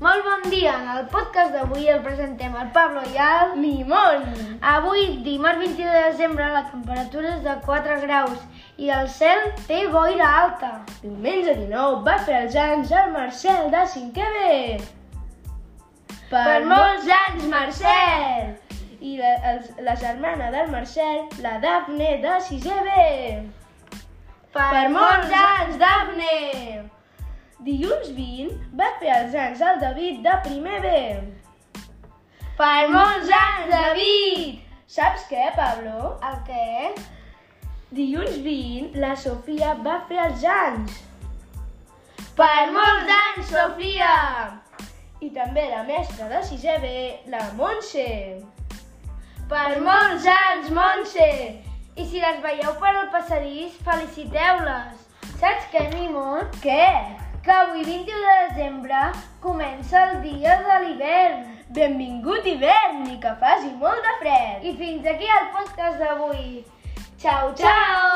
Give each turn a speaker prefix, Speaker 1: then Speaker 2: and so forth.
Speaker 1: I en el podcast d'avui el presentem al Pablo i al...
Speaker 2: Limón.
Speaker 1: Avui, dimarts 22 de desembre, la temperatura és de 4 graus i el cel té boira alta.
Speaker 2: Diumenge 19 va fer els anys el Marcel de 5è B. Per,
Speaker 1: Per molts
Speaker 2: anys, Marcel! I la, els, la germana del Marcel, la Dafne de 6è B. Per molts anys, Dafne! Dilluns 20 va fer els anys el David de primer B.
Speaker 1: Per
Speaker 2: molts anys, David! Saps què, Pablo?
Speaker 1: El què?
Speaker 2: Dilluns 20 la Sofia va fer els anys.
Speaker 1: Per
Speaker 2: molts anys, Sofia! I també la mestra de 6è B, la Montse.
Speaker 1: Per
Speaker 2: molts anys, Montse!
Speaker 1: I si les veieu per al passadís, feliciteu-les. Saps què, Nimon?
Speaker 2: Què?
Speaker 1: Que avui 21 de desembre comença el dia de l'hivern.
Speaker 2: Benvingut hivern i que faci molt de fred!
Speaker 1: I fins aquí el podcast d'avui. Ciao, ciao!